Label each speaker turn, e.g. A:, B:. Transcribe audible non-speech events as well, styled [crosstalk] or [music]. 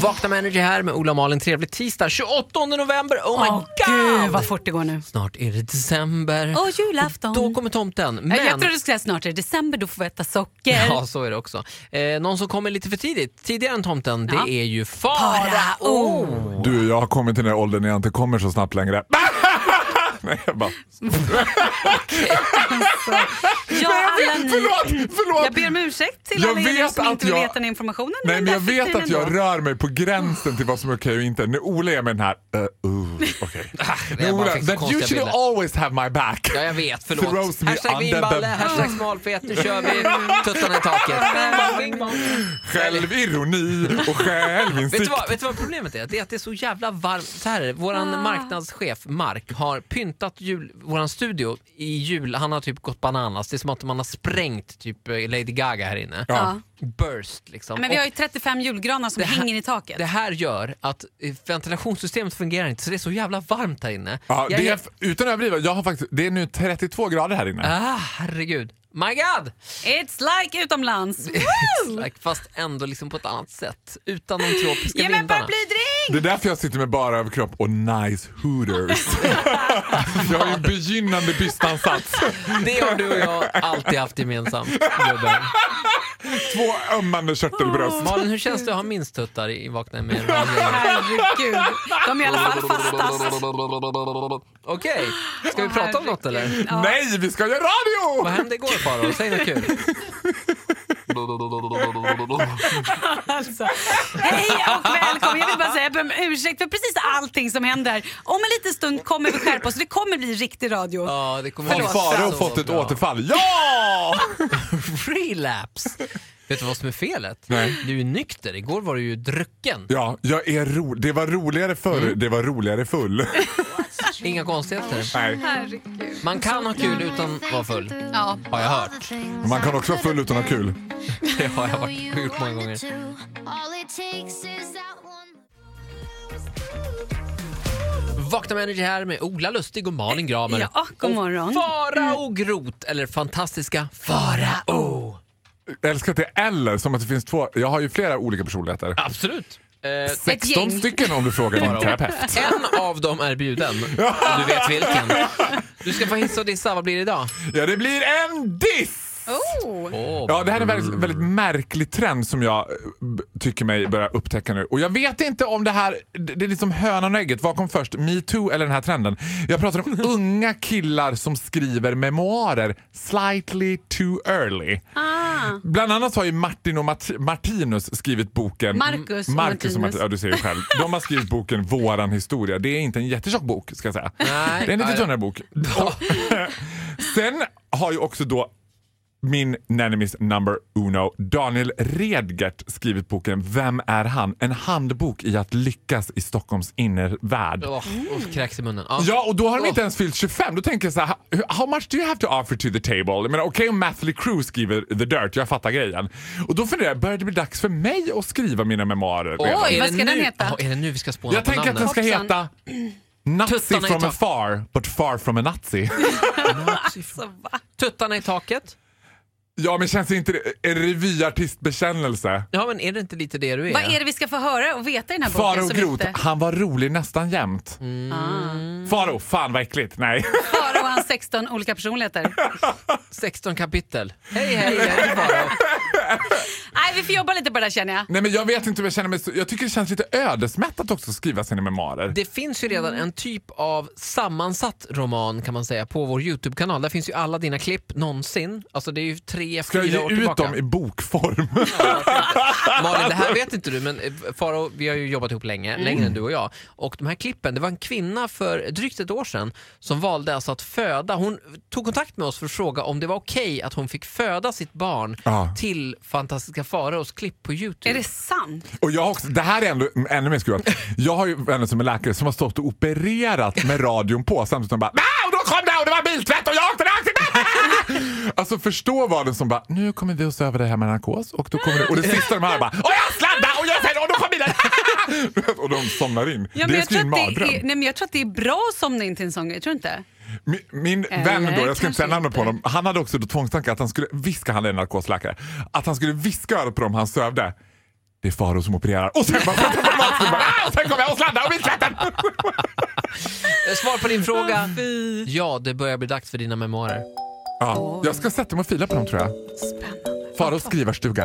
A: Vakna med Energy här med Ola och Malin. Trevlig tisdag 28 november. Oh my
B: Åh,
A: god!
B: gud vad fort det går nu.
A: Snart är det december.
B: Åh, julafton.
A: Då kommer tomten. Men...
B: Jag trodde du skulle säga snart är det december, då får vi äta socker.
A: Ja, så är det också. Eh, någon som kommer lite för tidigt, tidigare än tomten,
B: Ja.
A: det är ju Farao.
B: oh.
C: Du, jag har kommit till den här åldern när jag inte kommer så snabbt [laughs] längre. Nej, jag bara,
B: Ja, alla ni.
C: förlåt,
B: Jag
C: förlåt!
B: ber om ursäkt till
C: Jag
B: alla er nu
C: vet
B: som
C: att
B: inte vill
C: jag-
B: veta den informationen.
C: Nej, men jag
B: där fick
C: vet
B: ni
C: att
B: den
C: jag
B: ändå.
C: rör mig på gränsen till vad som är okej och inte. Nu Ola är med den här, uh, uh, [laughs] okej.
A: det är
C: Nu
A: bara
C: Ola,
A: fick så
C: that you
A: konstiga
C: should
A: bilder.
C: always have my back.
A: Ja, jag vet. Förlåt.
C: Throws me
A: Hashtag
C: under
A: vinballe,
C: the-
A: hashtag smalfet. Nu kör vi
B: [laughs]
A: tuttarna i taket. Bing, bong, bing, bong.
C: Självironi [laughs] och
A: Vet du,
C: självinsikt.
A: vad, vet du vad problemet är? Det är att det är så jävla varmt. Så här är det. Våran
B: Ah.
A: marknadschef Mark har pyntat jul, våran studio i jul. Han har typ gått bananas. Det är som att man har sprängt typ eh, Lady Gaga här inne.
B: Ja.
A: Burst liksom.
B: Men vi
A: Och
B: har ju 35 julgranar som
A: här-
B: hänger i taket.
A: det här gör att eh, ventilationssystemet fungerar inte så det är så jävla varmt här inne.
C: Ja,
A: Jag
C: det
A: är-
C: är, utan att överdriva, jag har faktiskt, det är nu 32 grader här inne.
A: Ah, herregud. My God!
B: It's like utomlands.
A: Like, fast ändå liksom på ett annat sätt. Utan de tropiska
B: Ge mig en
A: vindarna.
B: paraplydrink!
C: Det är därför jag sitter med bara överkropp och nice [laughs] hooters. jag har ju en begynnande bystansats.
A: Det har du och jag alltid haft gemensamt. gubben.
C: Två ömmande körtelbröst.
A: Malin, hur känns det att ha minst tuttar i Vakna med [laughs]
B: Herregud, de är i alla fall [laughs] fastast.
A: Okej, ska vi prata om något eller?
B: Ja.
C: Nej, vi ska göra radio!
A: Vad hände igår Farao? Säg något [laughs] kul.
B: [laughs] Alltså. Hej och välkommen! Jag vill bara säga jag ber om ursäkt för precis allting som händer här. Om en liten stund kommer vi skärpa oss. Det kommer bli riktig radio.
A: Ja, det kommer
C: Har
A: bli
C: Farao
A: så
C: fått ett
A: bra.
C: återfall?
B: [laughs]
C: Ja!
A: Relapse! Vet du vad som är felet?
C: Nej.
A: Du är nykter. Igår var du ju drucken.
C: Ja, jag är ro- det var roligare förr,
B: Mm.
C: det var roligare full.
A: Inga konstigheter.
C: Nej.
A: Man kan ha kul utan att vara full. [laughs]
B: Ja.
A: Har jag hört.
C: Man kan också vara full utan att ha kul.
A: Det har jag varit, gjort många gånger. Vakna med Energy här med Ola Lustig och Malin Gramer.
B: Ja, god morgon.
A: Farao Groth, eller fantastiska Farao.
C: Jag älskar att det är eller, som att det finns två. Jag har ju flera olika personligheter.
A: Absolut. Eh,
C: 16
B: gäng.
C: stycken om du frågar din
A: Farao.
C: terapeut.
A: en av dem är bjuden, och du vet vilken. Du ska få hissa och dissa. Vad blir det idag?
C: Ja, det blir en diss!
B: Oh.
A: Åh,
C: Ja, det här är en väldigt, väldigt märklig trend som jag eh, b- tycker mig börja upptäcka nu. Och jag vet inte om det här, det det är liksom hönan och ägget. Vad kom först, metoo eller den här trenden? Jag pratar om unga killar som skriver memoarer slightly too early.
B: Ah.
C: Bland annat har ju Martin och Mart- Martinus skrivit boken
B: Marcus och
C: Marcus och
B: Martinus.
C: Martinus. Ja, du ser ju själv. De har skrivit boken Våran historia. Det är inte en jättetjock bok ska jag säga.
A: Nej.
C: det är en
A: Nej.
C: lite tunnare bok. [laughs] Sen har ju också då min nenemies number uno, Daniel Redgert, skrivit boken Vem är han? En handbok i att lyckas i Stockholms innervärld.
A: åh, åh, kräks i munnen. Ja.
C: Ja, och då har de inte ens fyllt 25. Då tänker jag så här, "How- how much do you have to offer to the table? Jag menar, okej om Mathley Crew skriver The Dirt, jag fattar grejen. Och då funderar jag, börjar det bli dags för mig att skriva mina memoarer redan?
A: Är
B: vad
A: det
B: ska den
A: nu-
B: heta?
A: Ja, är det nu vi ska spåna
C: Jag
A: på
C: tänker att den
A: namnet?
C: ska
B: Hoppsan.
C: heta Nazi
A: Tuttarna i
C: from
A: tak.
C: afar, but far from a
A: [laughs]
C: Nazi.
B: Så va?
A: Tuttarna i taket.
C: ja, men känns inte det en revyartistbekännelse?
A: Ja, men är det inte lite det du är?
B: Vad är det vi ska få höra och veta i den här boken?
C: Faro
B: som
C: Groth,
B: inte-
C: han var rolig nästan jämt.
B: Ah.
A: Mm.
C: Faro, fan vad äckligt. Nej. [laughs]
B: Faro och hans 16 olika personligheter.
A: 16 kapitel. Hej, hej, jag heter Farao.
B: Nej, vi får jobba lite på det där känner jag.
C: Nej men jag vet inte hur jag känner mig. så- Jag tycker det känns lite ödesmättat också att skriva sina memoarer.
A: Det finns ju redan en typ av sammansatt roman kan man säga på vår Youtube-kanal. Där finns ju alla dina klipp någonsin. Alltså det är ju tre,
C: Ska jag
A: fyra
C: ge
A: år
C: ut
A: tillbaka.
C: dem i bokform? [laughs]
A: Malin, det här vet inte du, men eh, Faro, vi har ju jobbat ihop länge,
B: Mm.
A: längre än du och jag. Och de här klippen, det var en kvinna för drygt ett år sedan som valde alltså att föda. Hon tog kontakt med oss för att fråga om det var okej att hon fick föda sitt barn
C: Ja.
A: till Fantastiska Faraos klipp på Youtube.
B: Är det sant?
C: Och jag har också, det här är ändå, ännu mer skruvat. Jag har ju vänner som är läkare som har stått och opererat med radion på samtidigt som de bara "Ah, och då kom det och det var biltvätt och jag åkte rakt in." [laughs] Alltså förstå vardagen som bara nu kommer vi att söva det här med narkos och då kommer det, och det sista de här bara och jag sladdade och jag fel och då kom bilen. [laughs] och de somnar in.
B: Ja, men jag,
C: det är ju
B: tror
C: en
B: att det
C: mardröm.
B: är, nej, men jag tror att det är bra att somna in till en sån grej, tror du inte?
C: Min, min
B: Eller
C: vän då, jag ska inte
B: Eh, kanske
C: säga namnet på
B: inte.
C: honom, han hade också då tvångstankar att han skulle viska, han är en narkosläkare, att han skulle viska örat på dem han sövde. det är Faro som opererar. Och sen bara, [laughs] "Ah!" och sen kommer jag och sladdar och biltvätten.
A: Eh, Svar på din fråga.
B: Fy.
A: Ja, det börjar bli dags för dina memoarer.
C: Ja, jag ska sätta mig och fila på dem tror jag.
B: Spännande.
C: Faros skrivarstuga.